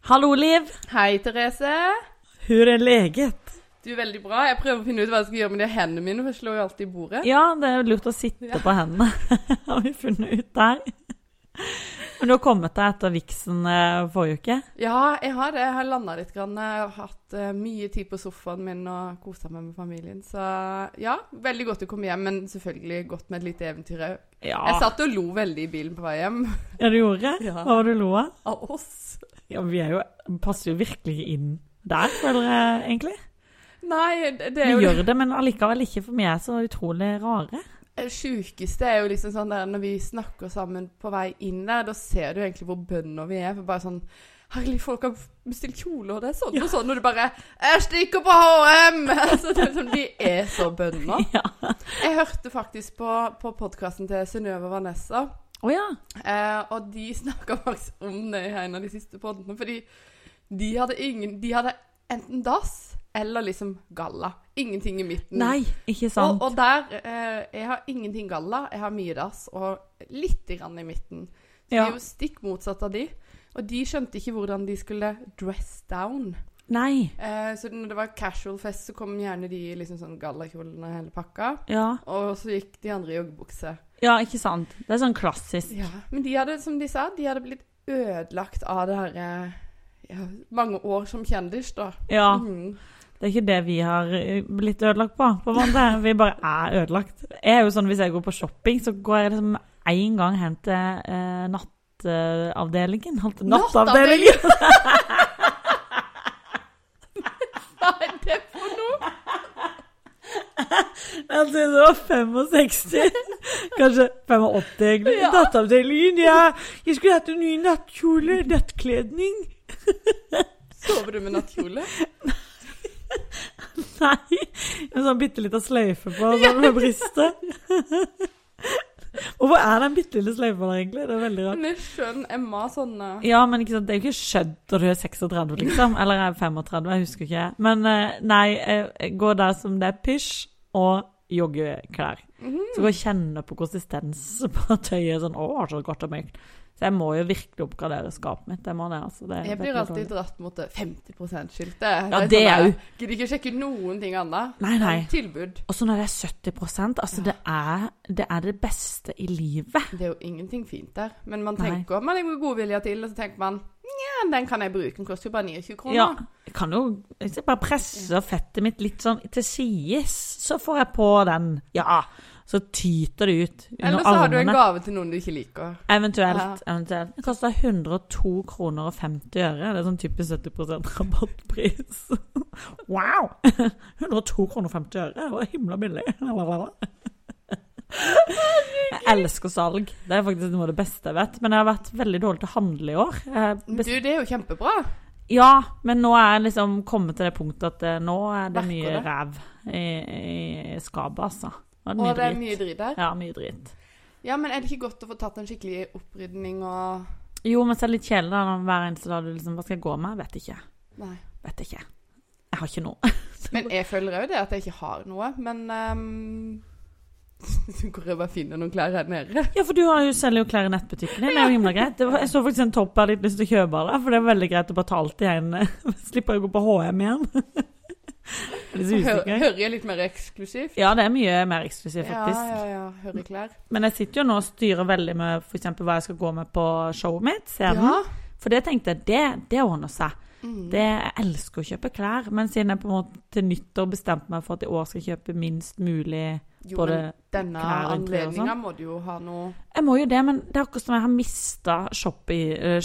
Hallo, Liv. Hei, Therese. Hur er leget? Du er veldig bra. Jeg prøver å finne ut hva jeg skal gjøre med de hendene mine, for jeg slår jo alltid i bordet. Ja, det er jo lurt å sitte på hendene, har vi funnet ut der. Men du har kommet deg etter viksen eh, forrige uke. Ja, jeg har det. Jeg har landa litt. Grann. Jeg har hatt eh, mye tid på sofaen min og kosa meg med familien. Så ja, veldig godt å komme hjem, men selvfølgelig godt med et lite eventyr òg. Ja, Jeg satt og lo veldig i bilen på vei hjem. ja du gjorde? Ja. Hva var det du lo av? Av oss. Ja, vi er jo, passer jo virkelig inn der, føler jeg egentlig. Nei, det det Vi er jo gjør det, men allikevel ikke, for vi er så utrolig rare. Det eh, sjukeste er jo liksom sånn der når vi snakker sammen på vei inn der, da ser du egentlig hvor bønder vi er. For bare sånn Herlig, folk har bestilt kjole, og det er sånn og sånn. Og du bare 'Jeg stikker på HM!' Altså, det er sånn, vi er så bønder. Ja. Jeg hørte faktisk på, på podkasten til Synnøve Vanessa, Å ja. eh, og de snakka faktisk om det i en av de siste podene. Fordi de hadde ingen De hadde enten dass eller liksom galla. Ingenting i midten. Nei, ikke Og, sant. og der eh, Jeg har ingenting galla, jeg har mye dass og litt grann i midten. Så de Ja. er jo stikk motsatt av de. Og de skjønte ikke hvordan de skulle dress down. Nei. Eh, så når det var casual fest, så kom gjerne de i liksom sånn gallakjolene og hele pakka. Ja. Og så gikk de andre i joggebukse. ja, ikke sant. Det er sånn klassisk. Ja. Men de hadde, som de sa, de hadde blitt ødelagt av det herre ja, Mange år som kjendis, da. Ja. Mm. Det er ikke det vi har eh, blitt ødelagt på, på en måte. Vi bare er ødelagt. Jeg er jo sånn, Hvis jeg går på shopping, så går jeg liksom én gang hen til eh, nattavdelingen. Holdt- Nattavdelingen! Hva er det for noe? Jeg syntes det var 65. Kanskje 85, egentlig. Ja. Nattavdelingen, ja. Jeg skulle hatt en ny nattkjole. Nattkledning. Sover du med nattkjole? Nei. En sånn bitte lita sløyfe på sånn med brystet. Hvorfor er den bitte lille sløyfa der, egentlig? Det er veldig rart. Men jeg skjønner Emma sånne Ja, men ikke sant, det er jo ikke skjødd når du er 36, liksom. Eller er 35, jeg husker ikke. Men eh, nei, eh, gå der som det er pysj, og joggeklær. Mhm. Så gå og kjenne på konsistens på tøyet. Sånn, å, så godt og mykt. Så jeg må jo virkelig oppgradere skapet mitt. Jeg må det, altså. Det, Jeg det blir blir alltid dårlig. dratt mot det 50 %-skiltet. Ja, det er jo- sånn Gidder ikke sjekke noen ting annet. Nei, nei. Tilbud. Og så når det er 70 altså det, er, det er det beste i livet. Det er jo ingenting fint der. Men man Nei. tenker man er godvilja til, og så tenker man Nja, den kan jeg bruke, den koster jo bare 29 kroner. Ja. Jeg kan jo hvis jeg bare presse fettet mitt litt sånn til sides, så får jeg på den. Ja. Så tyter det ut under Eller så har du en armene. gave til noen du ikke liker. Eventuelt. Ja. eventuelt. Det koster 102 kroner og 50 øre. Det er sånn typisk 70 rabattpris. Wow! 102 kroner og 50 øre. Det var himla billig. Jeg elsker salg. Det er faktisk noe av det beste jeg vet. Men jeg har vært veldig dårlig til å handle i år. Jeg Du, bes- det er jo kjempebra. Ja, men nå er jeg liksom kommet til det punktet at eh, nå er det Merker mye det. ræv i, i skapet, altså. Og Og det er mye mye dritt. dritt der. Ja, mye dritt. Ja, men er det ikke godt å få tatt en skikkelig opprydning og Jo, men så er det litt kjedelig da, når hver eneste dag du liksom Hva skal jeg gå med? Vet ikke. Nei. Vet ikke. Jeg har ikke noe. Men jeg føler òg det at jeg ikke har noe. Men ehm, Så går jeg bare og finner noen klær her nede. Ja, for du har jo selger jo klær i nettbutikken din. Det er jo himla greit. Det var, jeg så faktisk en topp jeg hadde litt lyst til å kjøpe av deg, for det er veldig greit å bare ta alt i en Slipper å gå på HM igjen. Jeg er litt så Hø usikker. hører jeg litt mer eksklusivt? Ja, det er mye mer eksklusivt, faktisk. Ja, ja, ja. Høreklær. Men jeg sitter jo nå og styrer veldig med for eksempel hva jeg skal gå med på showet mitt. Scenen. Ja. For det tenkte jeg, det, det ordner seg. Mm. Det, jeg elsker å kjøpe klær, men siden jeg på en måte til nyttår bestemte meg for at i år skal jeg kjøpe minst mulig Jo, både men denne klær og sånn. interiør og anledninga må du jo ha noe Jeg må jo det, men det er akkurat som jeg har mista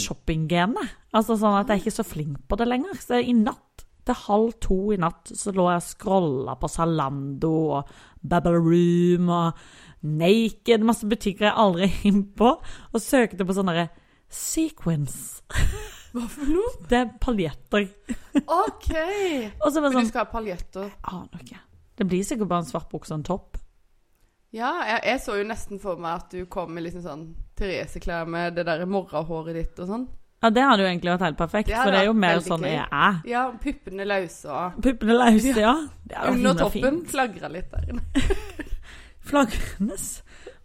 shoppinggenet. Altså sånn at jeg er ikke så flink på det lenger. Så i natt, til halv to i natt, så lå jeg og scrolla på Zalando og Babaroom og Naked, masse butikker jeg aldri er inne på, og søkte på sånne derre sequins. Hva for noe? Det er paljetter. OK! Og så var det For du sånn skal ha paljetter. Jeg aner ikke. Det blir sikkert bare en svart bukse og en topp. Ja, jeg, jeg så jo nesten for meg at du kom i liksom sånn Therese-klær med det derre morrahåret ditt og sånn. Ja, det hadde jo egentlig vært helt perfekt, Det for hadde det er jo vært mer veldig sånn gøy. jeg er. Ja, og puppene løse og Puppene løse, ja. Det er jo Under himla fint. toppen flagra litt der. Flaggernes.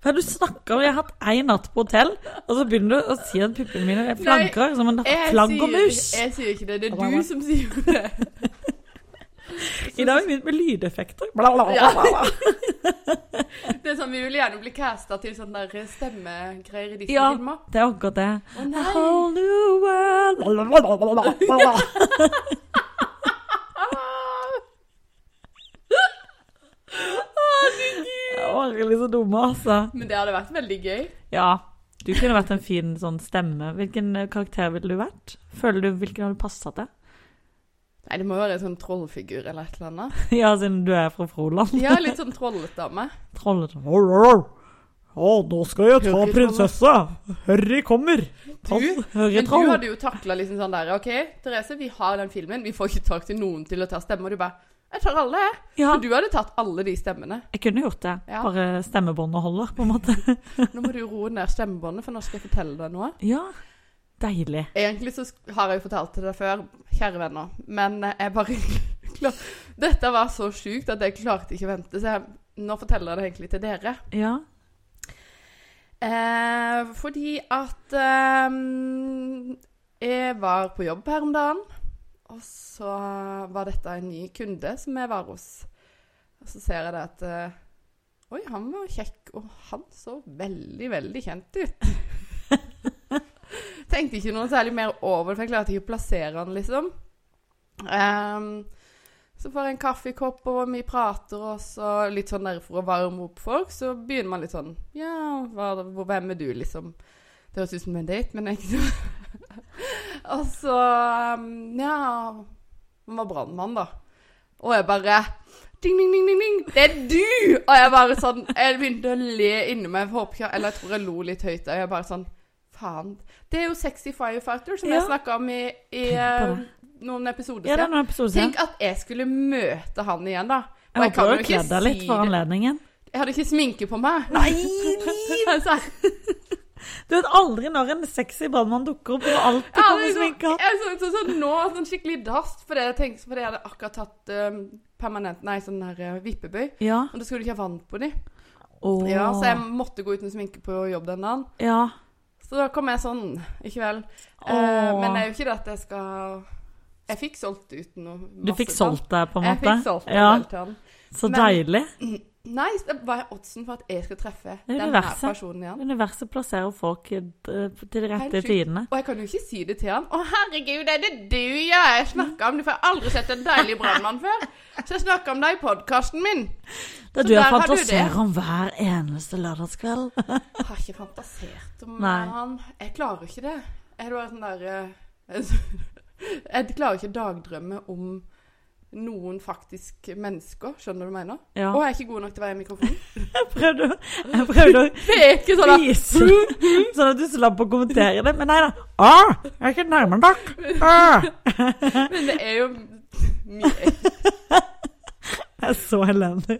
Hva er det du snakker om? Jeg har hatt én natt på hotell, og så begynner du å si at puppene mine er flagrer som en flaggermus. Sier, jeg sier ikke det. Det Og bare- er du som sier det. I dag har vi begynt med lydeffekter. Bla, bla, bla, Ja. bla, bla. Det er sånn, Vi vil gjerne bli casta til sånne der stemmegreier i Ja. Disney-filmer. Det er akkurat det. Å A nei! whole new world. Bla, bla, bla, bla, bla, bla, bla. Jeg orker liksom dumme, altså. Men det hadde vært veldig gøy. Ja. Du kunne vært en fin sånn stemme. Hvilken eh, karakter ville du vært? Føler du hvilken hadde passa til? Nei, det må jo være en sånn trollfigur eller et eller annet. Ja, siden du er fra Froland. Ja, litt sånn trolledame. Trollet. Å, nå skal jeg ta Hurry, prinsessa! Hurry kommer! Ta Du, Hurry, Men du troll! hadde jo takla liksom sånn der OK, Therese, vi har den filmen. Vi får ikke tak til noen til å ta stemme. Og du bare Jeg tar alle, jeg. Ja, Men du hadde tatt alle de stemmene. jeg kunne gjort det. Ja. Bare stemmebåndet holder, på en måte. Nå må du roe ned stemmebåndet, for nå skal jeg fortelle deg noe. Ja, deilig. Egentlig så sk- har jeg jo fortalt til deg før, kjære venner, men eh, jeg bare klar... Dette var så sjukt at jeg klarte ikke å vente, så jeg, nå forteller jeg det egentlig til dere. Ja. Eh, fordi at eh, jeg var på jobb her om dagen, og så var dette en ny kunde som jeg var hos. Og så ser jeg det at eh, Oi, han var kjekk, og han så veldig, veldig kjent ut. Tenkte ikke noe særlig mer over det, for jeg klarte ikke å plassere han, liksom. Ehm, så får jeg en kaffekopp, og vi prater, og så litt sånn der for å varme opp folk, så begynner man litt sånn Ja, hva, hvor- hvem er du, liksom? Det høres ut som en date, men ikke så Og så ehm, Ja, han var brannmann, da. Og jeg bare Ding, ding, ding, ding, ding. Det er du! Og jeg bare sånn Jeg begynte å le inni meg. for jeg Håper ikke, eller jeg tror jeg lo litt høyt. Og jeg bare sånn Faen. Det er jo Sexy Firefighter, som Ja. jeg snakka om i, i Tenk på eh, noen episoder ja, det er siden. noen episoder siden. Tenk at jeg skulle møte han igjen, da. Og Jeg håper kan du jo har ikke kledd deg litt si for det. anledningen. Jeg hadde ikke sminke på meg. Nei, altså, Du vet aldri når en sexy brannmann dukker opp, og alltid jeg kommer hadde sminka. liksom- jeg så ut som sånn nå, sånn skikkelig dass, fordi jeg tenkte fordi jeg hadde akkurat tatt eh, permanent Nei, sånn her eh, vippebøy. Ja. Og da skulle du ikke ha vann på dem. Åh. Ja, så jeg måtte gå uten sminke på jobb den dagen. ja. Så da kom jeg sånn i kveld. Eh, Åh. men det er jo ikke det at jeg skal Jeg fikk solgt ut noe. Du fikk solgt deg, på en Jeg måte? fikk solgt ja. en del til han. Så Men- deilig. Nei, det- hva er oddsen for at jeg skal treffe er den her universet. personen igjen? Universet plasserer folk eh, til de Helt rette sjukt. tidene. Og jeg kan jo ikke si det til han. Å, herregud, er det du ja, jeg snakker om? Du får aldri sett en deilig brannmann før. Så jeg snakker om deg i podkasten min. Det Så er du jeg der har du fantaserer det. om hver eneste lørdagskveld. Jeg har ikke fantasert om Nei. han. Jeg klarer ikke det. Jeg er bare sånn der eh, Jeg klarer ikke å dagdrømme om noen faktisk mennesker. Skjønner du hva jeg mener? Ja. Og jeg er ikke god nok til å være i mikrofonen. Jeg prøvde, å- jeg prøvde å Det er ikke sånn at vise sånn at du slapp å kommentere det, men nei da. Ah, jeg er ikke nærmere nok. Ah. Men det er jo vi er, Jeg er så elendig.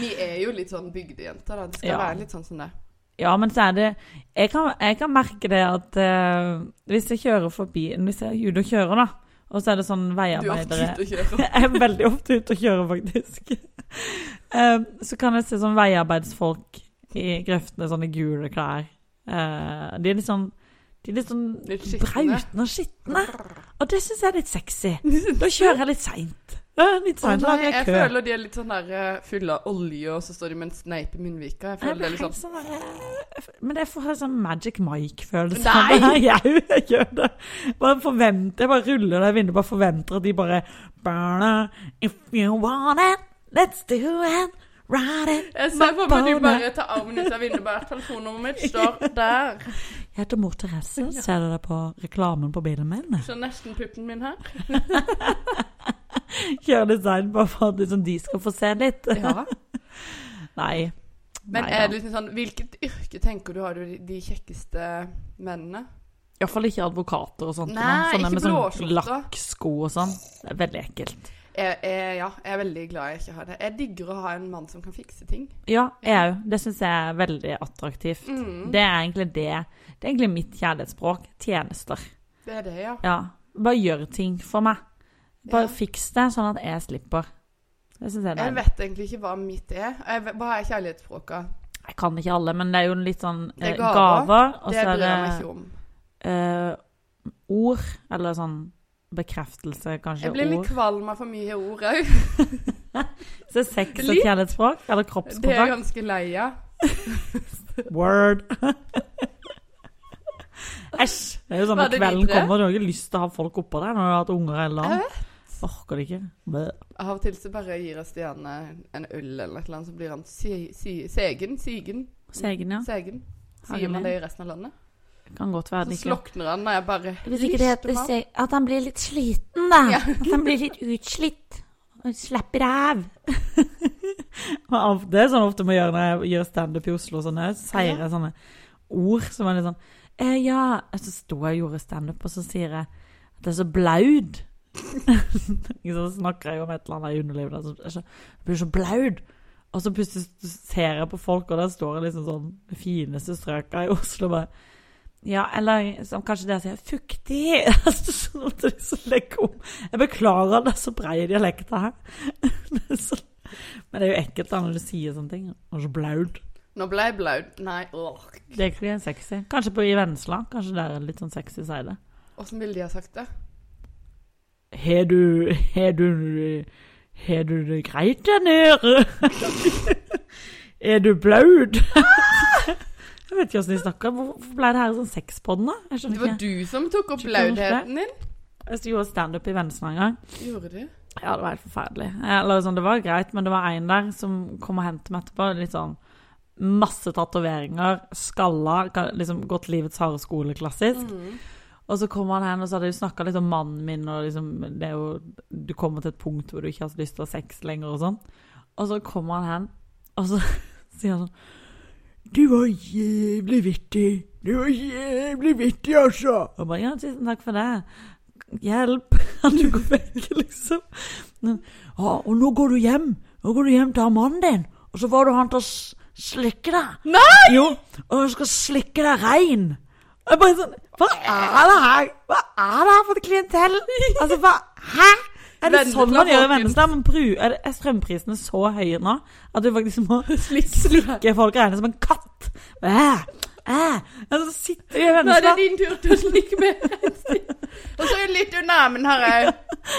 vi er jo litt sånn bygdejenter, da. Det skal Ja. være litt sånn som det. Ja, men så er det Jeg kan, jeg kan merke det at eh, hvis jeg kjører forbi Hvis jeg er ute og kjører, da, og så er det sånn Du har ofte veiarbeidere ute og kjører. Jeg er veldig ofte ute og kjører, faktisk. Eh, så kan jeg se sånn veiarbeidsfolk i grøftene, sånne gule klær. Eh, de er litt sånn De er litt sånn Litt skitne. brautende og skitne. Og det syns jeg er litt sexy. Da kjører jeg litt seint. Litt Å, seint. nei, lager jeg jeg kø. føler de er litt sånn der eh, fulle av olje, og så står de med en sneip i munnvika. Jeg Jeg føler det blir er litt helt sånn sånn der, Men jeg får sånn Magic Mike-følelse. Nei! Nei, jeg, jeg gjør det. Bare forventer, jeg bare ruller det vinduet, bare forventer at de bare Barna, if you want it, let's do it, ride it. Jeg ser for meg at Madonna. de bare tar armen ut av vinduet, bare telefonnummeret mitt står der. Jeg heter Mor Therese. Ser du det på reklamen på bilen min? Så nesten puppen min her. Kjører design bare for at liksom, de skal få se litt. Ja. Nei. Men Nei, er da. det liksom sånn Hvilket yrke tenker du har du de- de kjekkeste mennene? Iallfall ikke advokater og sånt. Nei, da. ikke med sånn blåskjorter. Lakksko og sånn. Det er veldig ekkelt. Jeg, jeg, ja, jeg er veldig glad jeg ikke har det. Jeg digger å ha en mann som kan fikse ting. Ja, jeg òg. Det syns jeg er veldig attraktivt. Mm, Det er egentlig det. Det er egentlig mitt kjærlighetsspråk. Tjenester. det er det, ja. Ja. Bare gjør ting for meg. Bare Ja. fiks det, sånn at jeg slipper. Det syns jeg er deilig. Jeg vet egentlig ikke hva mitt er. Jeg vet, hva er kjærlighetsspråket? Jeg kan ikke alle, men det er jo en litt sånn eh, Det er gaver. gaver. Og det så Altså, er bryr det jeg meg ikke om. eh, ord, eller sånn bekreftelse, kanskje Jeg blir litt ord. kvalm av for mye ord òg. Så sex og litt- kjærlighetsspråk, eller Det er jeg kroppskontakt. ganske lei av. Word. Æsj. Det er jo sånn Var når det kvelden videre? kommer, du har ikke lyst til å ha folk oppå deg når du har hatt unger eller Jeg noe. Orker det ikke. Bæ. Av og til så bare gir jeg Stian eh, en øl eller et eller annet, så blir han si, si, segen. Sigen. Segen, ja. Segen. Herlig. Sier man det i resten av landet? Kan godt være Så det ikke slokner han når jeg bare Hvis ikke det heter Lyster meg. se At han blir litt sliten, da. Ja. At han blir litt utslitt. Og Slapper av. Av- Det er sånn ofte må gjøre når jeg gjør standup i Oslo og sånn, jeg sier jeg sånne ord som er litt sånn eh, Ja. Så sto jeg og gjorde standup, og så sier jeg at det er så blaud. Ikke sant, Så snakker jeg om et eller annet i underlivet, da, så jeg så- jeg blir så blaud. Og så plutselig ser jeg på folk, og der står jeg liksom sånn de fineste strøka i Oslo bare ja, eller som kanskje dere sier, fuktig. Altså, sånn at de så legger om. Jeg beklager det er så brei dialekt her. Det er så men det er jo ekkelt da når du sier sånne ting. Og så blaut. Nå ble jeg blaut. Nei, åh. Det er ikke sexy. Kanskje på i Vennesla. Kanskje der er det litt sånn sexy side. Åssen ville de ha sagt det? Har du Har du Har du det greit der nede? er du blaut? jeg vet ikke åssen de snakker. Hvorfor ble det her sånn sexpodden, da? Jeg Det skjønner var ikke. du som tok opp Tror ikke det var blautheten din. Jeg gjorde standup i Vennesla en gang. Gjorde du? Ja, det var helt forferdelig. Eller sånn, det var greit, men det var en der som kom og hentet meg etterpå. Litt sånn masse tatoveringer, skalla, ka- liksom gått livets harde skole klassisk. Og så kom han hen, og så hadde jeg jo snakka litt om mannen min, og liksom det er jo, Du kommer til et punkt hvor du ikke har så lyst til å ha sex lenger og sånn. Og så kommer han hen, og så sier han sånn Du var jævlig vittig. Du var jævlig vittig, altså. Og jeg bare Ja, tusen takk for det. Hjelp! Kan du gå vekk, liksom? Men, Ja, og nå går du hjem. Nå går du hjem til han mannen din, og så får du han til å s- slikke deg. Nei! Jo, og han skal slikke deg rein. Og Jeg bare sånn Hva er det her? Hva er det her for et klientell? Altså, hva Hæ? Er det Vennesla, sånn man gjør i folkens. Vennesla? Men bru, er, det, er strømprisene så høye nå at du faktisk må Slikke. slikke folk reine som en katt? Æh, æh. Altså, sitter du i Nå er det Vennesla din tur til å slikke meg. Og så er det litt under armen her òg.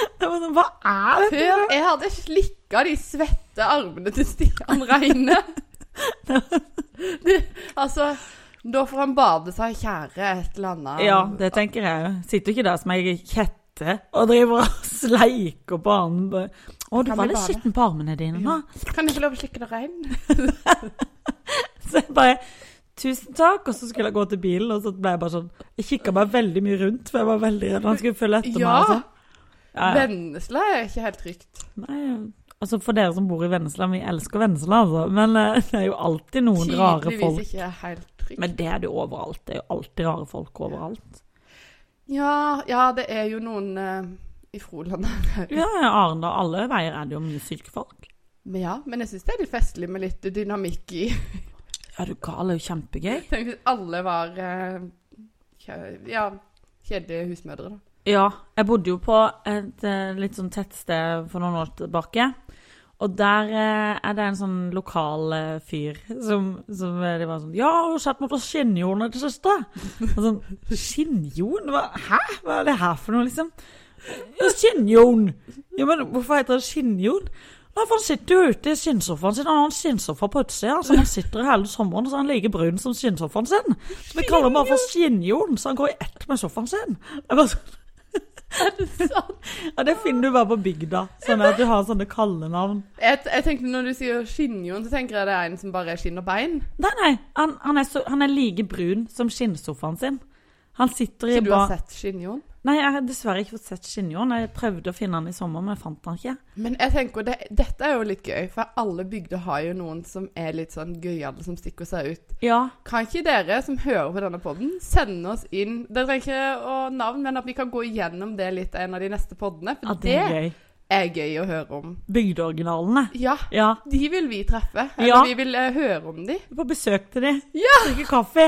Jeg bare sånn, Hva er dette? Før jeg hadde slikka de svette armene til Stian Reine. Det- Altså, da får han bade seg kjære et eller annet. Ja, det tenker jeg jo. Sitter jo ikke der som ei kjette og driver og sleiker på armen. Å, du Kan var vi litt bade? skitten på armene dine nå. Kan jeg få lov å slikke deg rein? Så jeg bare Tusen takk. Og så skulle jeg gå til bilen, og så ble jeg bare sånn Jeg kikka meg veldig mye rundt, for jeg var veldig redd han skulle følge etter meg. Ja. Altså. Ja, ja. Vennesla er ikke helt trygt. Nei, altså for dere som bor i Vennesla, vi elsker Vennesla, altså. Men eh, det er jo alltid noen rare folk. Tydeligvis ikke helt trygt. Men det er det jo overalt. Det er jo alltid rare folk overalt. Ja, ja, det er jo noen eh, i Froland Ja, Arendal. Alle veier er det jo mye syke folk. Men ja, men jeg syns det er litt festlig med litt dynamikk i. Ja, du gal, det er jo kjempegøy. Tenk hvis alle var eh, kjø- Ja, kjedelige husmødre, da. Ja, jeg bodde jo på et eh, litt sånn tettsted for noen år tilbake. Og der eh, er det en sånn lokal eh, fyr som, som eh, de var sånn Ja, har du sett meg på skinnjordet til søster? Og sånn Skinnjorn? Hva, hæ? Hva er det her for noe, liksom? Ja, skinnjorn. Ja, men hvorfor heter det skinnjorn? Nei, for han sitter jo ute i skinnsofaen sin. Han har en skinnsofa på utsida, så han sitter i hele sommeren så er han like brun som skinnsofaen sin. Så vi kaller ham bare for skinnjorn, så han går i ett med sofaen sin. Jeg bare sånn ja, det finner du bare på bygda. Sånn at du har sånne kallenavn. Jeg, jeg tenkte Når du sier skinnjon, så tenker jeg det er en som bare er skinn og bein. Nei, nei, han, han, er, så, han er like brun som skinnsofaen sin. Han sitter i Så du har ba- sett skinnjon? Nei, jeg har dessverre ikke fått sett skinnjorden. Jeg prøvde å finne han i sommer, men jeg fant han ikke. Men jeg tenker, det, dette er jo litt gøy, for alle bygder har jo noen som er litt sånn gøyale, som stikker seg ut. Ja, Kan ikke dere som hører på denne podden, sende oss inn Dere trenger ikke å navn, men at vi kan gå igjennom det litt i en av de neste poddene. For ja det det, er gøy. er gøy å høre om. Bygdeoriginalene. Ja. Ja. De vil vi treffe. Eller Ja. vi vil eh, høre om de. På besøk til de. Ja! Drikke kaffe.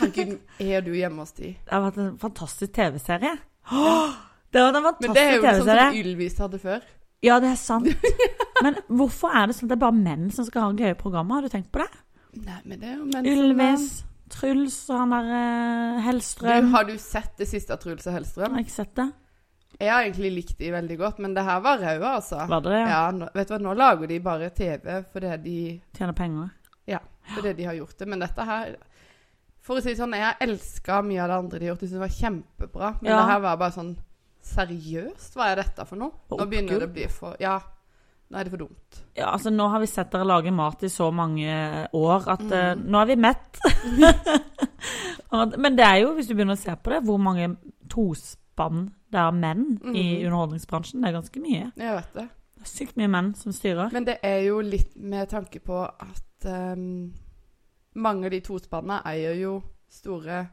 Herregud, er du hjemme hos de? Det har vært en fantastisk TV-serie. Det var en Men det er fantastisk jo sånn som TV-serie. Ylvis hadde før. Ja, det er sant. Men hvorfor er det sånn at det er bare menn som skal ha gøye programmer? Har du tenkt på det? Nei, men det er jo mensen, da. Ylvis, Truls og han der eh, Du, Hellstrøm. har du sett det siste av Truls og Har Hellstrøm? jeg ikke sett det? Jeg har egentlig likt de veldig godt, men det her var raua, altså. Var det det? Ja. Ja, nå, vet du hva, nå lager de bare TV fordi de, Tjener penger. fordi de har gjort det, men dette her For å si det sånn, jeg elska mye av det andre de har gjort, jeg syns det var kjempebra, men Ja. det her var bare sånn Seriøst, hva er dette for noe? Og Nå begynner det oppgulp. å bli for Ja, nå er det for dumt. Ja, altså Nå har vi sett dere lage mat i så mange år at Mm. eh, nå er vi mett. Og- Men det er jo, hvis du begynner å se på det, hvor mange tospann det er menn i Mhm. underholdningsbransjen. Det er ganske mye. Jeg vet det. Det er sykt mye menn som styrer. Men det er jo litt med tanke på at ehm, mange av de tospanna eier jo store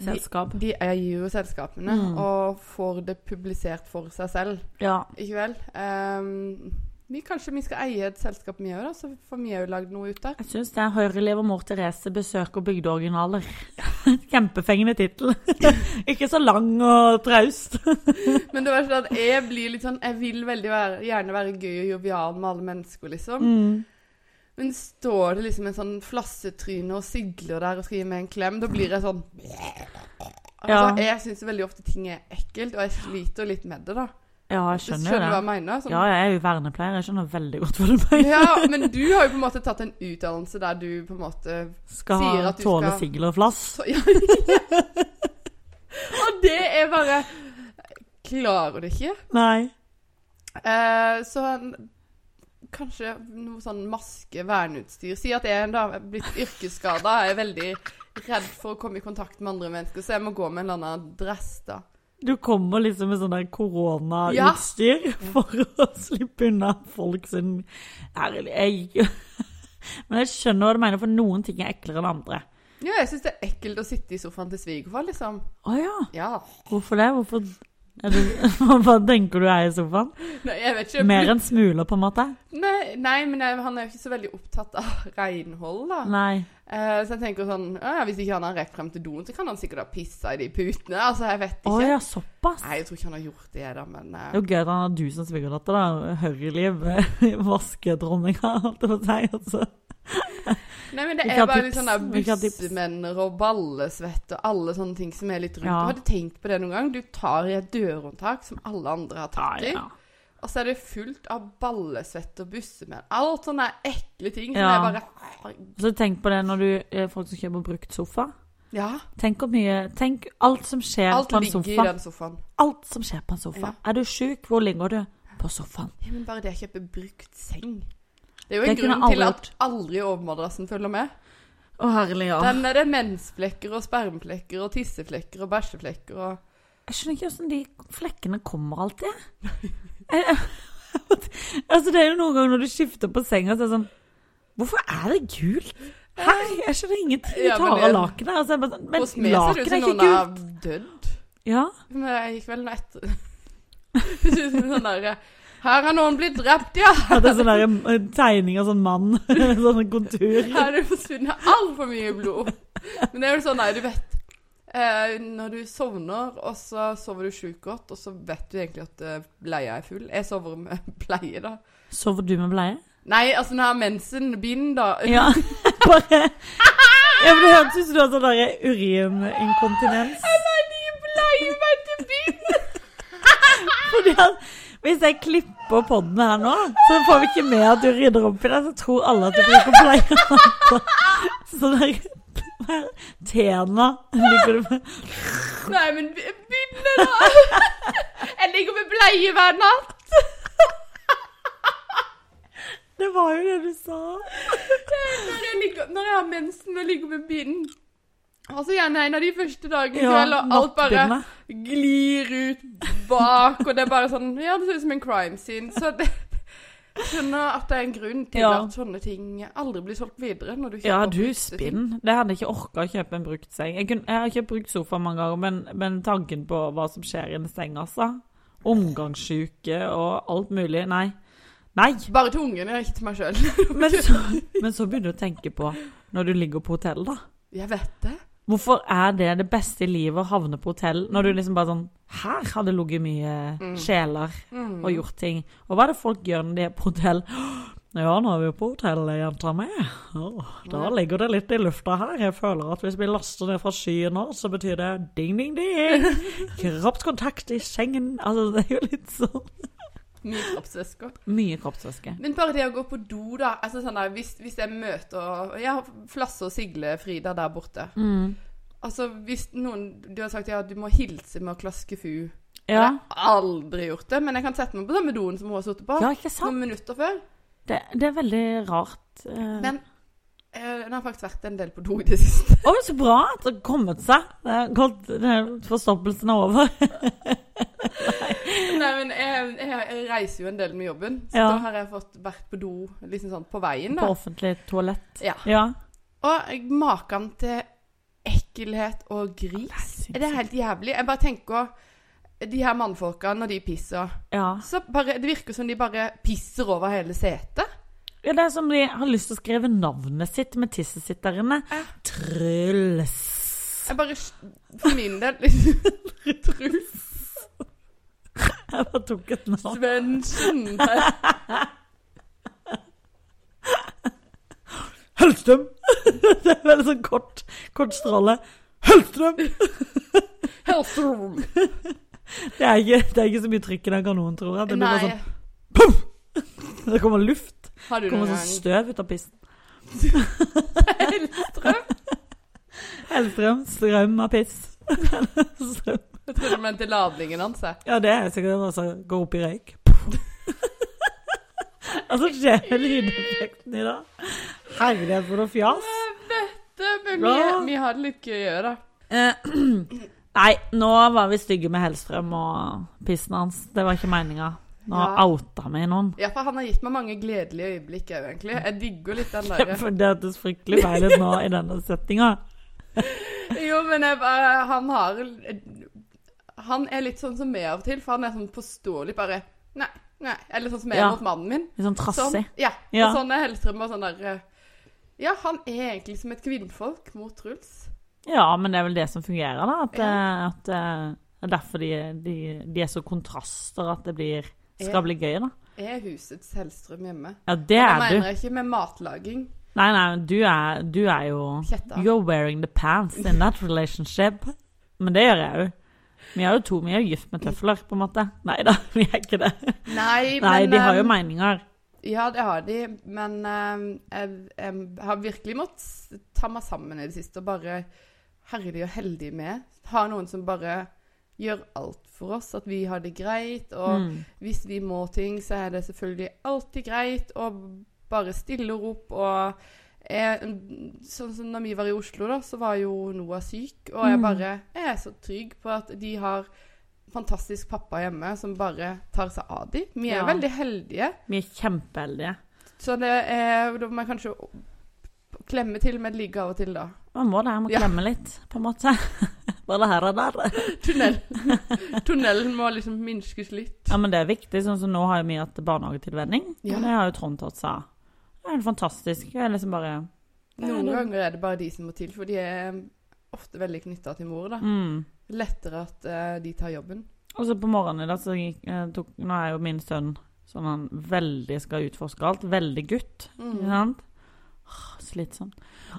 de- Selskap. De eier jo selskapene Mm. og får det publisert for seg selv, Ja. ikke vel? Ehm, vi, kanskje vi skal eie et selskap vi òg, da, så får vi òg lagd noe ut av Jeg syns det er Høyreliv og mor Therese besøker bygdeoriginaler. Kjempefengende tittel. Ikke så lang og traust. Men det var sånn at jeg blir litt sånn Jeg vil veldig være, gjerne være gøy og jovial med alle mennesker, liksom. Mm. Men står det liksom en sånn flassetryne og sigler der og skal gi meg en klem, da blir jeg sånn Ja. Altså, Jeg syns veldig ofte ting er ekkelt, og jeg sliter litt med det, da. Ja, jeg skjønner Skjønner, skjønner du hva jo det. jeg mener? Sånn, Ja, jeg er jo vernepleier. Jeg skjønner veldig godt hva du mener. Ja, men du har jo på en måte tatt en utdannelse der du på en måte Skal Sier ha at du tåle skal- sigler og flass. så, ja. Og det er bare Klarer det ikke. Nei. Eh, så en- kanskje noe sånn maske, verneutstyr Si at jeg er en dame er blitt yrkesskada, er veldig redd for å komme i kontakt med andre mennesker, så jeg må gå med en eller annen dress, da. Du kommer liksom med sånn der koronautstyr for å slippe unna folk sin Ærlig, jeg gikk jo Men jeg skjønner hva du mener, for noen ting er eklere enn andre. Ja, jeg syns det er ekkelt å sitte i sofaen til svigerfar, liksom. Å ja. Ja. Hvorfor det? Hvorfor er du, Hva tenker du er i sofaen? Nei, jeg vet ikke. Mer enn smuler, på en måte? Nei, nei, men jeg, han er jo ikke så veldig opptatt av renhold, da. Nei. Eh, så jeg tenker sånn «Å ja, Hvis ikke han har rekt frem til doen, så kan han sikkert ha pissa i de putene. Altså, jeg vet Å ikke. ja, såpass? Nei, jeg tror ikke han har gjort det, da, men Det eh, er jo gøy at han har du som svigerdatter, da. Høyreliv. Vaskedronninga, holdt jeg på å si. Altså. Nei, men det Vi er kan bare tips. litt sånn der Vi kan tips. bussmenner og ballesvett og alle sånne ting som er litt rundt. Ja. Har du tenkt på det noen gang? Du tar i et dørhåndtak som alle andre har tatt i, Ja, og så er det fullt av ballesvett og bussemenn. Alt sånne ekle ting som Ja. er bare Og så tenk på det når du eh, folk som kjøper brukt sofa. Ja. Tenk hvor mye Tenk alt som skjer Alt på en ligger sofa. i den sofaen. Alt som skjer på en sofa. Ja. Er du sjuk, hvor ligger du? På sofaen. Ja, men bare det å kjøpe brukt seng Det er jo Det en kunne grunn til alle at aldri overmadrassen følger med. Å, herlig, ja. Den er det mensflekker og spermflekker og tisseflekker og bæsjeflekker og Jeg skjønner ikke hvordan de flekkene kommer alltid. Jeg- altså, det er jo noen ganger når du skifter på senga, så er det sånn Hvorfor er det gult? Her, jeg skjønner ingenting. Du Ja, men tar av det- lakenet. Altså, jeg bare sånn, men Hos meg ser det lakenet ut er som ikke noen har gult. dødd. Ja. Men jeg gikk vel nå etter Det ser ut som sånn der Her har noen blitt drept, ja! At det er sånn der, eh, tegning av sånn mann. sånn kontur. Her er det forsvunnet altfor mye blod. Men det er jo sånn, nei, du vet eh, Når du sovner, og så sover du sjukt godt, og så vet du egentlig at eh, bleia er full. Jeg sover med bleie, da. Sover du med bleie? Nei, altså når jeg har mensen, bind, da. Ja, bare ja, men Det hørtes ut som du hadde sånn der urininkontinens. Nei, de bleier meg til bind! Fordi at Hvis jeg klipper podden her nå, så får vi ikke med at du rydder opp i det. Så tror alle at du bruker bleie. Så der, der tena ligger du med. Nei, men bi- bindet, da! Jeg ligger med bleie hver natt. Det var jo det du sa. Når jeg, ligger, når jeg har mensen og ligger med bind Og så gjerne en av de første dagene Ja, kveld, og alt bare nattbindet. glir ut bak, og det er bare sånn Ja, det ser ut som en crime scene. Så det, jeg skjønner at det er en grunn til Ja. at sånne ting aldri blir solgt videre. Når du kjøper Ja, du brukte ting. spinn. Det hadde jeg ikke orka å kjøpe en brukt seng. Jeg, kunne, jeg har kjøpt brukt sofa mange ganger, men, men tanken på hva som skjer i en seng, altså. Omgangssyke og alt mulig. Nei. Nei! Bare til ungene, ikke til meg sjøl. Men så, men så begynner du å tenke på, når du ligger på hotell, da. Jeg vet det. Hvorfor er det det beste i livet å havne på hotell, når du liksom bare sånn Her har Mm. det ligget mye sjeler og gjort ting. Og hva er det folk gjør når de er på hotell? Ja, nå er vi jo på hotellet, jenta mi. Å, da ligger det litt i lufta her. Jeg føler at hvis vi laster ned fra skyen nå, så betyr det ding, ding, ding. Kroppskontakt i sengen. Altså, det er jo litt sånn Mye kroppsvæsker. Mye kroppsvæske. Men bare det å gå på do, da. Altså sånn der, hvis, hvis jeg møter Jeg har Flasse og Sigle Frida der borte. Mm. Altså, hvis noen Du har sagt ja, du må hilse med å klaske fu. Ja. Jeg har aldri gjort det, men jeg kan sette meg på samme doen som hun har sittet på. ja, ikke sant? Noen minutter før. Det, det er veldig rart. eh. Men eh, den har faktisk vært en del på do i det siste. Å, så bra at det har kommet seg. Det er godt, det er forstoppelsen er over. Nei, men jeg, jeg, jeg reiser jo en del med jobben, så Ja. da har jeg fått vært på do liksom sånn på veien. På da. offentlig toalett. Ja. Ja. Og jeg- maken til ekkelhet og gris. Nei, Det er helt jævlig. Jeg bare tenker De her mannfolka, når de pisser Ja. så bare, Det virker som de bare pisser over hele setet. ja. Det er som de har lyst til å skrive navnet sitt med tisset sitt der inne. Ja. Truls. Jeg bare For min del liksom, Truls Jeg bare tok et navn. Svendsen. Hellstrøm! Det er veldig sånn kort, kort stråle. Hellstrøm! Hellstrom. Det er ikke, det er ikke så mye trykk i den kanonen, tror jeg. Det, blir bare Nei. sånn, det kommer luft. Har du Det noen kommer sånn gang støv ut av pissen. Hellstrøm? Hellstrøm. Strøm av piss. Strøm. Jeg trodde du mente ladningen hans. jeg. Ja, det er sikkert det som går opp i røyk. altså, skjer med lydeffekten i dag? Herlighet, for noe fjas. Det, men Bra. vi, vi har det litt gøy òg, da. Eh, Nei, nå var vi stygge med Hellstrøm og pissen hans. Det var ikke meninga. Nå Ja. outa vi noen. Ja, for han har gitt meg mange gledelige øyeblikk òg, egentlig. Jeg digger litt den der For det hørtes fryktelig feil ut nå i denne settinga. Jo, men jeg, bare- han har Han er litt sånn som meg av og til, for han er sånn påståelig bare Nei, nei. Eller sånn som jeg er Ja. mot mannen min. Litt sånn Sånn, trassig. ja. Ja. Og sånn er Hellstrøm og sånn der eh, Ja, han er egentlig som et kvinnfolk mot Truls. Ja, men det er vel det som fungerer, da. At, eh, at eh, det er derfor de, de, de er så kontraster at det blir, Ja. skal bli gøy, da. Er husets Hellstrøm hjemme? Ja, det Da er du. mener jeg ikke med matlaging. Nei, nei, men du er, du er jo Kjetta. You're wearing the pants in that relationship. Men det gjør jeg jo. Vi er jo to, vi er jo gift med tøfler, på en måte. Nei da, vi er ikke det. Nei, Nei, men de har jo eh, meninger. Ja, det har de, men eh, jeg, jeg har virkelig måttet s- ta meg sammen i det siste og bare herlig og heldig med. Ha noen som bare gjør alt for oss, at vi har det greit, og Mm. hvis vi må ting, så er det selvfølgelig alltid greit, og bare stiller opp og eh, Sånn som når vi var i Oslo, da, så var jo Noah syk, og jeg Mm. bare jeg er så trygg på at de har fantastisk pappa hjemme som bare tar seg av dem. Vi er Ja. veldig heldige. Vi er kjempeheldige. Så det er, da må jeg kanskje klemme til med et ligg av og til, da. Man må det, jeg må Ja. klemme litt, på en måte. Både her og der. Tunnel. Tunnelen må liksom minskes litt. Ja, men det er viktig. Sånn som nå har jo vi hatt barnehagetilvenning, Ja. og det har jo Trond tatt seg av. Det er helt fantastisk. Jeg er liksom bare Noen Ja, det- ganger er det bare de som må til, for de er ofte veldig knytta til mor, da. mm. Lettere at eh, de tar jobben. Og så på morgenen i dag så gikk, eh, tok, Nå er jo min sønn sånn han veldig skal utforske alt. Veldig gutt. Mm. Ikke sant? Åh, Slitsomt.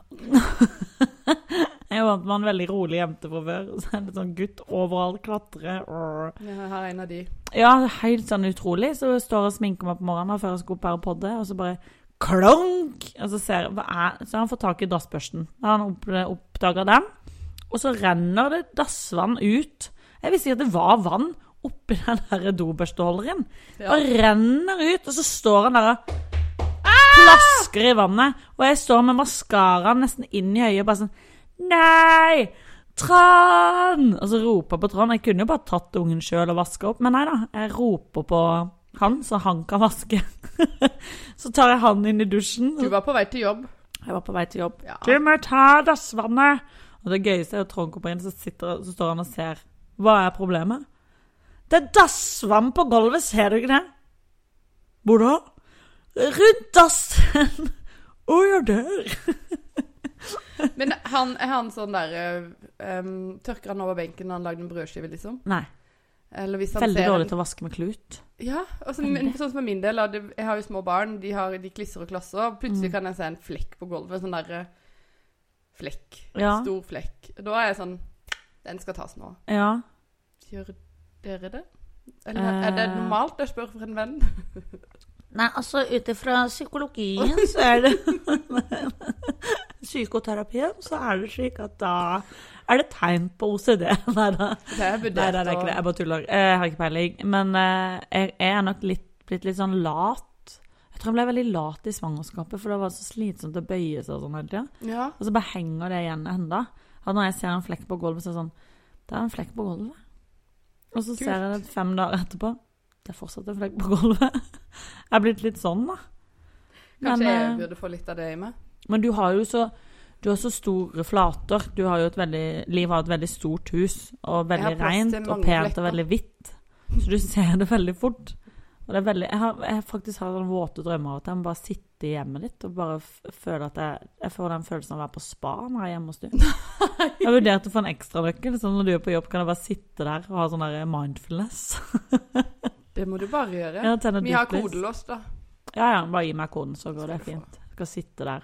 Jeg er vant med en veldig rolig jente fra før. og Så er det sånn gutt overalt, klatre åh. Jeg har en av de. Ja, helt sånn utrolig. Så jeg står og sminker meg på morgenen og før jeg skal opp her og podde, og så bare klonk! Og så ser jeg hva er Så har han fått tak i dassbørsten. Da har han opp, oppdaga den. Og så renner det dassvann ut. Jeg visste ikke at det var vann oppi den der dobørsteholderen. Ja. Og renner ut, og så står han der og Ah! plasker i vannet. Og jeg står med maskaraen nesten inn i øyet, bare sånn Nei! Trond! Og så roper jeg på Trond. Jeg kunne jo bare tatt ungen sjøl og vaska opp, men nei da. Jeg roper på han, så han kan vaske. så tar jeg han inn i dusjen. Du var på vei til jobb. Jeg var på vei til jobb. Ja. Du må ta dassvannet! Og det gøyeste er at Trond kommer inn, så, sitter, så står han og ser. Hva er problemet? Det er dassvann på gulvet, ser du ikke det? Hvor da? Rundt dassen! Å ja, der. Men han, er han sånn der eh, em, Tørker han over benken når han lagde en brødskive, liksom? Nei. Eller hvis han Veldig ser dårlig en- til å vaske med klut. Ja, og så- men sånn som for min del, da, det- jeg har jo små barn, de, har, de klisser og klasser, og plutselig Mm. kan jeg se en flekk på gulvet, sånn der eh, flekk, Ja. stor flekk. Da er jeg sånn, den skal tas nå. Ja. Gjør dere det? Eller er det Eh. normalt? Jeg spør for en venn. Nei, altså ut ifra psykologien så er det Psykoterapien, så er det slik at da er det tegn på OCD. Nei da. Det er vurdert. Nei, nei, det er ikke det. Jeg bare tuller. Eh, Jeg har ikke peiling. Men eh, jeg jeg er nok litt, blitt litt sånn lat. Jeg tror jeg ble veldig lat i svangerskapet, for det var så slitsomt å bøye seg og sånn hele tida. og- Ja. Og så bare henger det igjen enda. At når jeg ser en flekk på gulvet, så er det sånn Det er en flekk på gulvet. Og så ser jeg det fem dager etterpå. Det er fortsatt en flekk på gulvet. Jeg er blitt litt sånn, da. Men, Kanskje jeg eh, burde få litt av det i meg. Men du har jo så du har så store flater. Du har jo et veldig, Liv har et veldig stort hus, og Jeg har veldig plass til rent og mange pent og flekker. veldig hvitt. Så du ser det veldig fort. Og det er veldig, jeg har jeg har faktisk hatt sånne våte drømmer at jeg må bare sitte i hjemmet ditt og bare f- føle at jeg, jeg får den følelsen av å være på spa når jeg er hjemme hos du. Jeg vurderte å få en ekstranøkkel, så når du er på jobb, kan jeg bare sitte der og ha sånn der mindfulness. Det må du bare gjøre. Ja, tenne Vi har duftlys. kodelås, da. Ja, ja, bare gi meg koden, så går det Skal du få. fint. Jeg skal sitte der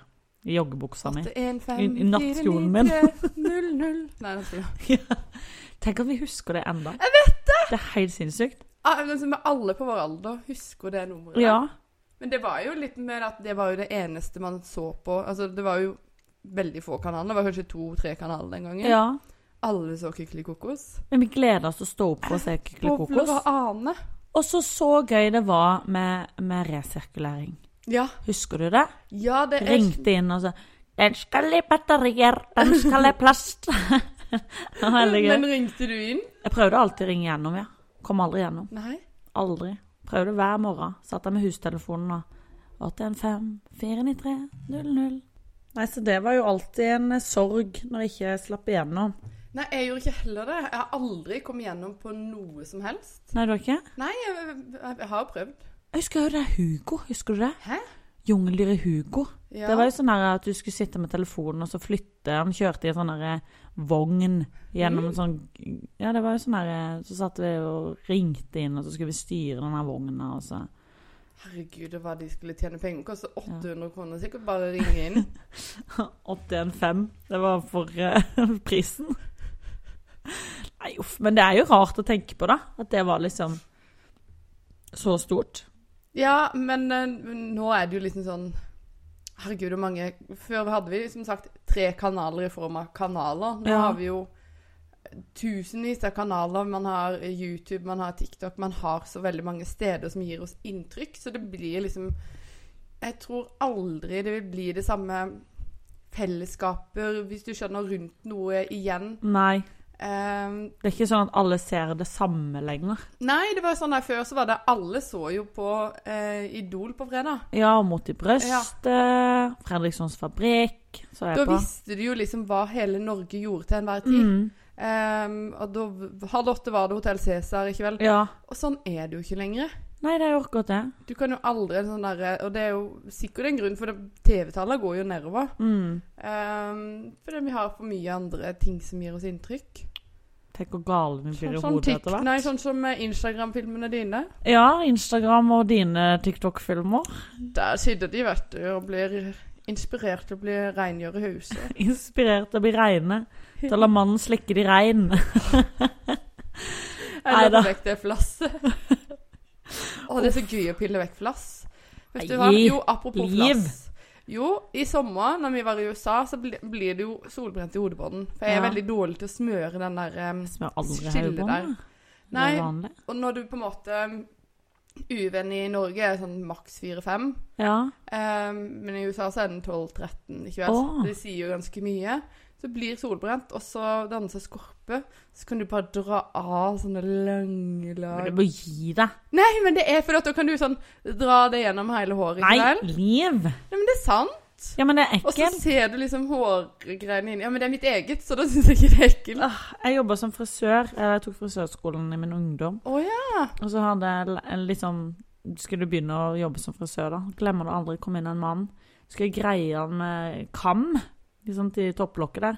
i joggebuksa mi. 815 I- i nattskolen min. 493 Nei, den skal Tenk at vi husker det enda. Jeg vet det! Det er helt sinnssykt. Ah, men som er alle på vår alder husker det nummeret. Ja. Men det var jo litt mer at det var jo det eneste man så på. Altså, det var jo veldig få kanaler. Det var kanskje to-tre kanaler den gangen. ja. Alle så Kykeli kokos. Men vi gleder oss til å stå opp og se Kykeli Boble Kokos. var Ane. Og så så gøy det var med, med resirkulering. Ja. Husker du det? ja, det er Ringte inn og sa Den skal i batterier, den skal i plast. Det var Veldig gøy. Men ringte du inn? Jeg prøvde alltid å ringe gjennom, ja. Kom aldri gjennom. Nei. Aldri. Prøvde hver morgen. Satt der med hustelefonen og 815 493 00. Nei, så det var jo alltid en eh, sorg når jeg ikke slapp igjennom. Nei, jeg gjorde ikke heller det. Jeg har aldri kommet gjennom på noe som helst. Nei, du har ikke? Nei, jeg, jeg, jeg har prøvd. Jeg husker jo det er Hugo, husker du det? Hæ? Jungeldyret Hugo. Ja. Det var jo sånn her at du skulle sitte med telefonen og så flytte. Han kjørte i en sånn her vogn gjennom en sånn Ja, det var jo sånn her Så satt vi og ringte inn, og så skulle vi styre den her vogna, og så Herregud, og hva de skulle tjene penger. Koster 800 kroner sikkert bare å ringe inn. 81,5. Det var for eh, prisen. Nei, uff. Men det er jo rart å tenke på, da. At det var liksom så stort. Ja, men eh, nå er det jo liksom sånn Herregud, hvor mange Før hadde vi som sagt tre kanaler i form av kanaler. Nå Ja. har vi jo tusenvis av kanaler. Man har YouTube, man har TikTok. Man har så veldig mange steder som gir oss inntrykk, så det blir liksom Jeg tror aldri det vil bli det samme fellesskaper, hvis du skjønner, rundt noe igjen. Nei. Eh, Det er ikke sånn at alle ser det samme lenger. nei, det var jo sånn der før, så var det Alle så jo på eh, Idol på fredag. Ja, og mot i brøstet. Fredrikssons fabrikk. Så er Da jeg på. visste du jo liksom hva hele Norge gjorde til enhver tid. Mm, Ehm, og da v- halv åtte var det Hotell Cæsar, ikke vel? ja. Og sånn er det jo ikke lenger. Nei, det er jo akkurat det. Du kan jo aldri sånn derre Og det er jo sikkert en grunn, for det- TV-tallene går jo nedover. Mm. Ehm, fordi vi har for mye andre ting som gir oss inntrykk. Tenk hvor gale vi blir Sånn, i sånn, hodet tikk- etter hvert. nei, sånn som eh, Instagram-filmene dine. Ja, Instagram og dine TikTok-filmer. Der sitter de, vet du, og blir inspirert til å bli rengjøre i huset. Inspirert til å bli reine. Til å la mannen slikke de rein. Eller Neida. pille vekk det flasset. Å, det er så gøy å pille vekk flass. Vet du hva? Nei, Jo, apropos liv. flass. Jo, i sommer når vi var i USA, så bli- blir det jo solbrent i hodebånden. For jeg er Ja. veldig dårlig til å smøre den der eh, Som jeg aldri har Skille øyebånd der. med. Det Nei, er vanlig. og når du på en måte Uvenn i Norge er sånn maks 4-5. Ja. eh, men i USA så er den 12-13, ikke vel? Åh. Det sier jo ganske mye. Så blir solbrent, og så danser skorpe. Så kan du bare dra av sånne lange Men lag. du må gi deg. Nei, men det er fordi at da kan du sånn dra det gjennom hele håret. Nei, Ikke vel? liv! Nei, men det er sant. Ja, men det er Og så ekkelt. ser du liksom hårgreiene inni. Ja, men det er mitt eget, så da syns jeg ikke det er ekkelt. Å Jeg jobba som frisør. eh, Jeg tok frisørskolen i min ungdom. ja. Og så hadde jeg l- en liksom Skulle begynne å jobbe som frisør, da. Glemmer det aldri. Kom inn en mann. Skulle greie han med kam liksom, til topplokket der. Og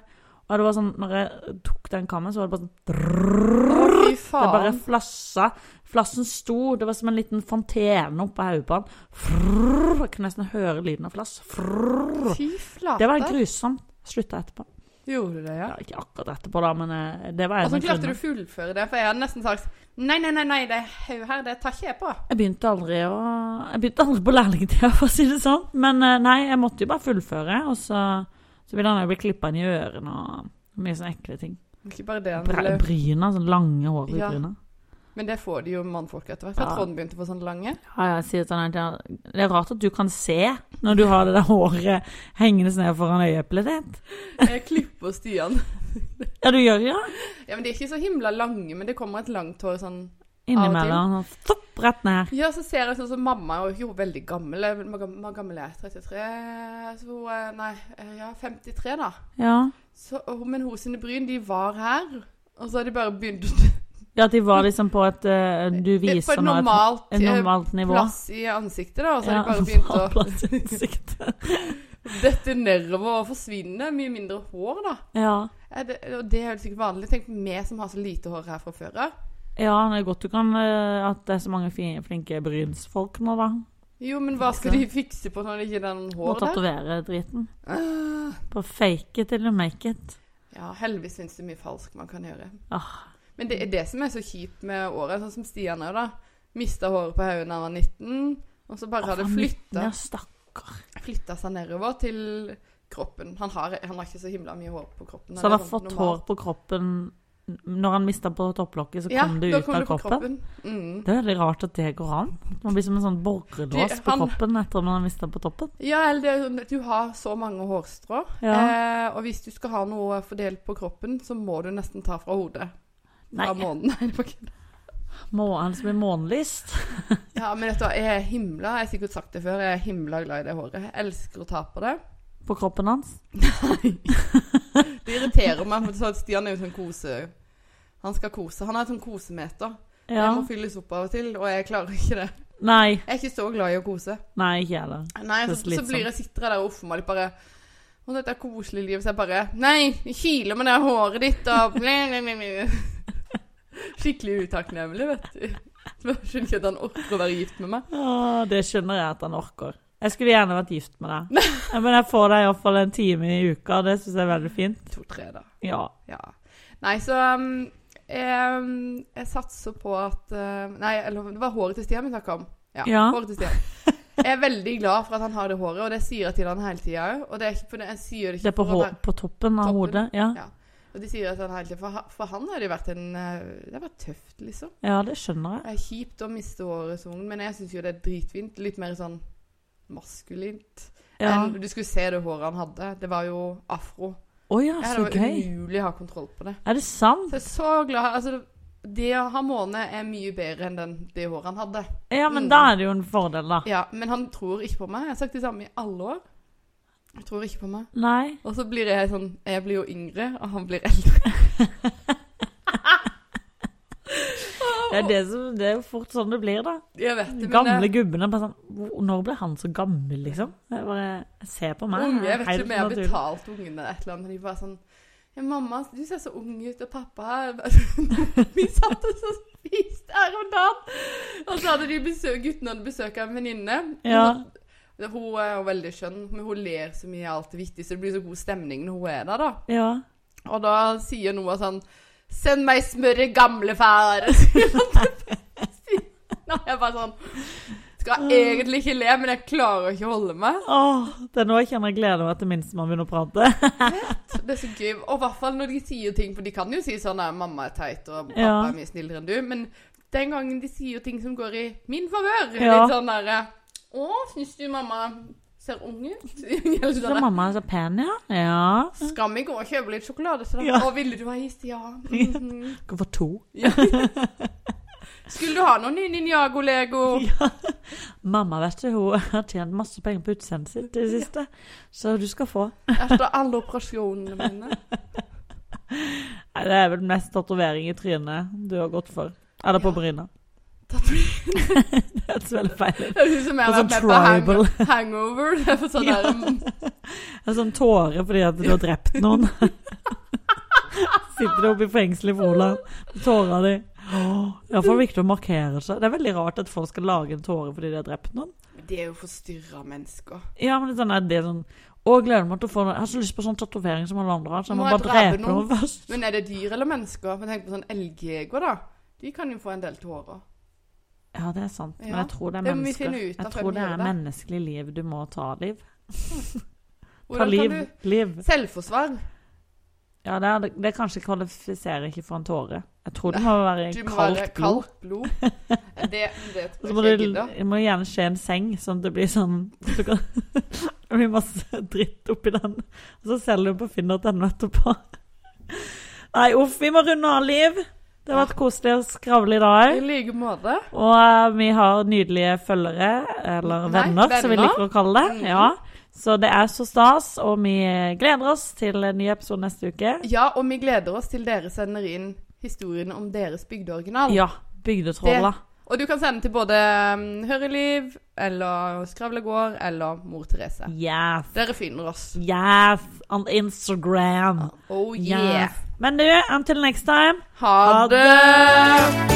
Og det var sånn, når jeg tok den kammen, så var det bare sånn Å, fy Det bare faen. flassa. Flassen sto, det var som en liten fontene oppå hodet på han. Frrrr, Jeg kunne nesten høre lyden av flass. Frrrr. Fy flate. Det var grusomt. Slutta etterpå. Gjorde du det, ja? Ja, ikke akkurat etterpå, da, men eh, det var en Og så av klarte du grunnene. å fullføre det, for jeg hadde nesten sagt Nei, nei, nei, nei, det hodet her, det tar ikke jeg på. Jeg begynte aldri å Jeg begynte aldri på lærlingtida, for å si det sånn. Men eh, nei, jeg måtte jo bare fullføre, og så, så ville han jo bli klippa inn i ørene og mye sånne ekle ting. Ikke bare det han Br- ville Bryna, sånn lange hår i Ja. bryna. Men det får de jo mannfolk etter hvert. Jeg Ja. tror han begynte å få sånne lange. Ja, jeg sier til han at jeg- det er rart at du kan se når du har det der håret hengende ned foran øyeeplet ditt. Jeg klipper Stian. Ja, du gjør det, ja. Ja, men De er ikke så himla lange, men det kommer et langt hår sånn Innimellom. sånn, Stopp, rett ned. Ja, så ser jeg sånn som mamma er jo veldig gammel. Eh, Hvor gam- hvor gammel er jeg? 33 så, hun er- Nei, eh, ja, 53, da. Ja. Så, og- men hun sine bryn, de var her. Og så har de bare begynt ja, at de var liksom på et eh, Du på viser et nå et, normalt et eh, normalt nivå. plass i ansiktet, da. Og så har Ja, de bare begynt å plass i ansiktet. dette nedover og forsvinne. Mye mindre hår, da. Ja. Er det, og det er jo sikkert vanlig. Tenk på meg som har så lite hår her fra før av. ja, det er godt du kan eh, at det er så mange fi- flinke brynsfolk nå, da. Jo, men hva skal de fikse på når det ikke er den Må håret der? tatovere driten. Ah. På fake it eller make it. Ja, heldigvis finnes det mye falsk man kan gjøre. Ah. Men det er det som er så kjipt med året, sånn som Stian er, da. Mista håret på hodet da han var 19, og så bare har det Å, faen, flytta, Ja, stakkar. flytta seg nedover til kroppen. Han har, han har ikke så himla mye hår på kroppen. Så han det har er sånn fått hår normalt. på kroppen Når han mista på topplokket, så Ja, kom det da ut kom av det på kroppen. Mm. Det er veldig rart at det går an. Man blir som en sånn borrelås Du, på han- kroppen etter at man har mista på toppen. Ja, eller det er jo sånn at du har så mange hårstrå, eh, og hvis du skal ha noe fordelt på kroppen, så må du nesten ta fra hodet. Nei, Fra månen. Nei, det var ikke det. må han som blir månelyst? Ja, men vet du hva, jeg er himla, jeg har sikkert sagt det før, jeg er himla glad i det håret. Jeg elsker å ta på det. På kroppen hans? Det irriterer meg, for så- Stian er jo sånn kose... Han skal kose. Han har et sånn kosemeter. Det Ja. må fylles opp av og til, og jeg klarer ikke det. Nei. Jeg er ikke så glad i å kose. Nei, ikke jeg heller. Nei, Det er så så, så slitsomt. blir jeg sitter jeg der og offer meg litt bare Å, dette er koselig liv. Så jeg bare Nei, jeg kiler med det håret ditt og blæ, blæ, blæ, blæ. Skikkelig utakknemlig, vet du. Jeg skjønner ikke at han orker å være gift med meg. Å, det skjønner jeg at han orker. Jeg skulle gjerne vært gift med deg. Ja, Men jeg får deg iallfall en time i uka, og det syns jeg er veldig fint. To-tre, da. Ja. Ja. Nei, så um, jeg, jeg satser på at eh, Nei, eller det var håret til Stian vi snakka om. Ja, Ja. håret til Stian. Jeg er veldig glad for at han har det håret, og det sier jeg til han hele tida òg. Og det er ikke, for det, jeg sier det ikke Det er på, for å hå være- på toppen av Toppen. hodet. Ja. Ja. Og de sier at han hele tiden, for, ha- for han har det vært en eh, Det har vært tøft, liksom. ja, det skjønner jeg. Det er kjipt å miste håret som ung, men jeg syns jo det er dritfint. Litt mer sånn maskulint. Ja. Enn du skulle se det håret han hadde. Det var jo afro. Å ja, Ja, Ah, så det var gøy. umulig å ha kontroll på det. Er det sant? Så jeg er så glad Altså, det å ha måne er mye bedre enn den, det håret han hadde. Ja, men Mm. da er det jo en fordel, da. Ja, men han tror ikke på meg. Jeg har sagt det samme i alle år. Han tror ikke på meg. Nei. Og så blir jeg sånn Jeg blir jo yngre, og han blir eldre. Det er, det, som, det er jo fort sånn det blir, da. Jeg vet det, De men eh, gamle det- gubbene bare sånn "Hvor- Når ble han så gammel, liksom? Jeg bare Se på meg. Unge, jeg er vet ikke helt om jeg har naturlig. betalt ungene et eller annet. men De bare sånn ja, 'Mamma, du ser så ung ut, og pappa Vi satt og så spiste her om dagen. Og så hadde de besøk, guttene hadde besøk av en venninne. Ja. Hun- Hun er jo veldig skjønn, men hun ler så mye av alt det vittige, så det blir så god stemning når hun er der, da. Ja. Og da sier Noah sånn 'Send meg smøret, gamle far'. Nei, jeg er bare sånn Skal egentlig ikke le, men jeg klarer ikke å holde meg. Åh, det er nå jeg kjenner jeg gleder meg til minstemann begynner å prate. Det er så gøy. Og i hvert fall når de sier ting, for de kan jo si sånn at mamma er teit og pappa Ja. er mye snillere enn du, men den gangen de sier ting som går i min favør, Ja. litt sånn derre Å, syns du mamma ser ung ut? Eller Så sånn der, mamma er så pen, ja. Ja. Skal vi gå og kjøpe litt sjokolade? Så da, Ja. Å, ville du ha is? Ja. Mhm. Hvorfor to? ja. Skulle du ha noen nye Ninjago-lego? Mamma, vet du, hun har tjent masse penger på utseendet sitt i det siste, så du skal få. Etter alle operasjonene mine? Nei, det er vel mest tatovering i trynet du har gått for. Eller på Ja. bryna. Tatovering. Det er veldig feil. Jeg synes jeg har Og vært sånn med på tribal. hang hangover. Det er for sånn der, En sånn tåre fordi at du har drept noen. Sitter oppe i fengselet i Froland. Tåra di. Åh, Det er iallfall viktig å markere seg. Det er veldig rart at folk skal lage en tåre fordi de har drept noen. De er jo forstyrra mennesker. Ja, men det er sånn, er det sånn Å, jeg gleder meg til å få noe. Jeg har så lyst på sånn tatovering som alle andre har, så jeg må Må bare jeg drepe drepe noen først. Men er det dyr eller mennesker? Men tenk på sånn elgjegere, da. De kan jo få en del tårer. Ja, det er sant. Men Ja. jeg tror det er Det må vi mennesker. finne ut av Jeg før vi tror det gjør er det. menneskelig liv du må ta, Liv. Ta Hvordan liv. kan du Liv. Selvforsvar. Ja, det, er, det kanskje kvalifiserer ikke for en tåre. Jeg tror det Nei, må være Du må være Eh, kaldt blod. kaldt blod. Det, det Og så tror jeg må ikke det, jeg gidder. det må gjerne skje en seng, sånn at det blir sånn du kan, Det blir masse dritt oppi den. Og så selger du på finn.no etterpå. Nei, uff, vi må runde av, Liv. Det har vært koselig å skravle i dag. I like måte. Og eh, vi har nydelige følgere, eller Nei, venner, som vi venner. liker å kalle det. Mhm. Ja. Så det er så stas, og vi eh, gleder oss til en ny episode neste uke. Ja, og vi gleder oss til dere sender inn historien om deres bygdeoriginal. Ja, Bygdetrolla. Og du kan sende til både um, Høreliv eller Skravlegård eller Mor Therese. Yes. Dere finner oss. Yes. On Instagram. Oh yeah. Yes. Men du, until next time. Ha Ha det!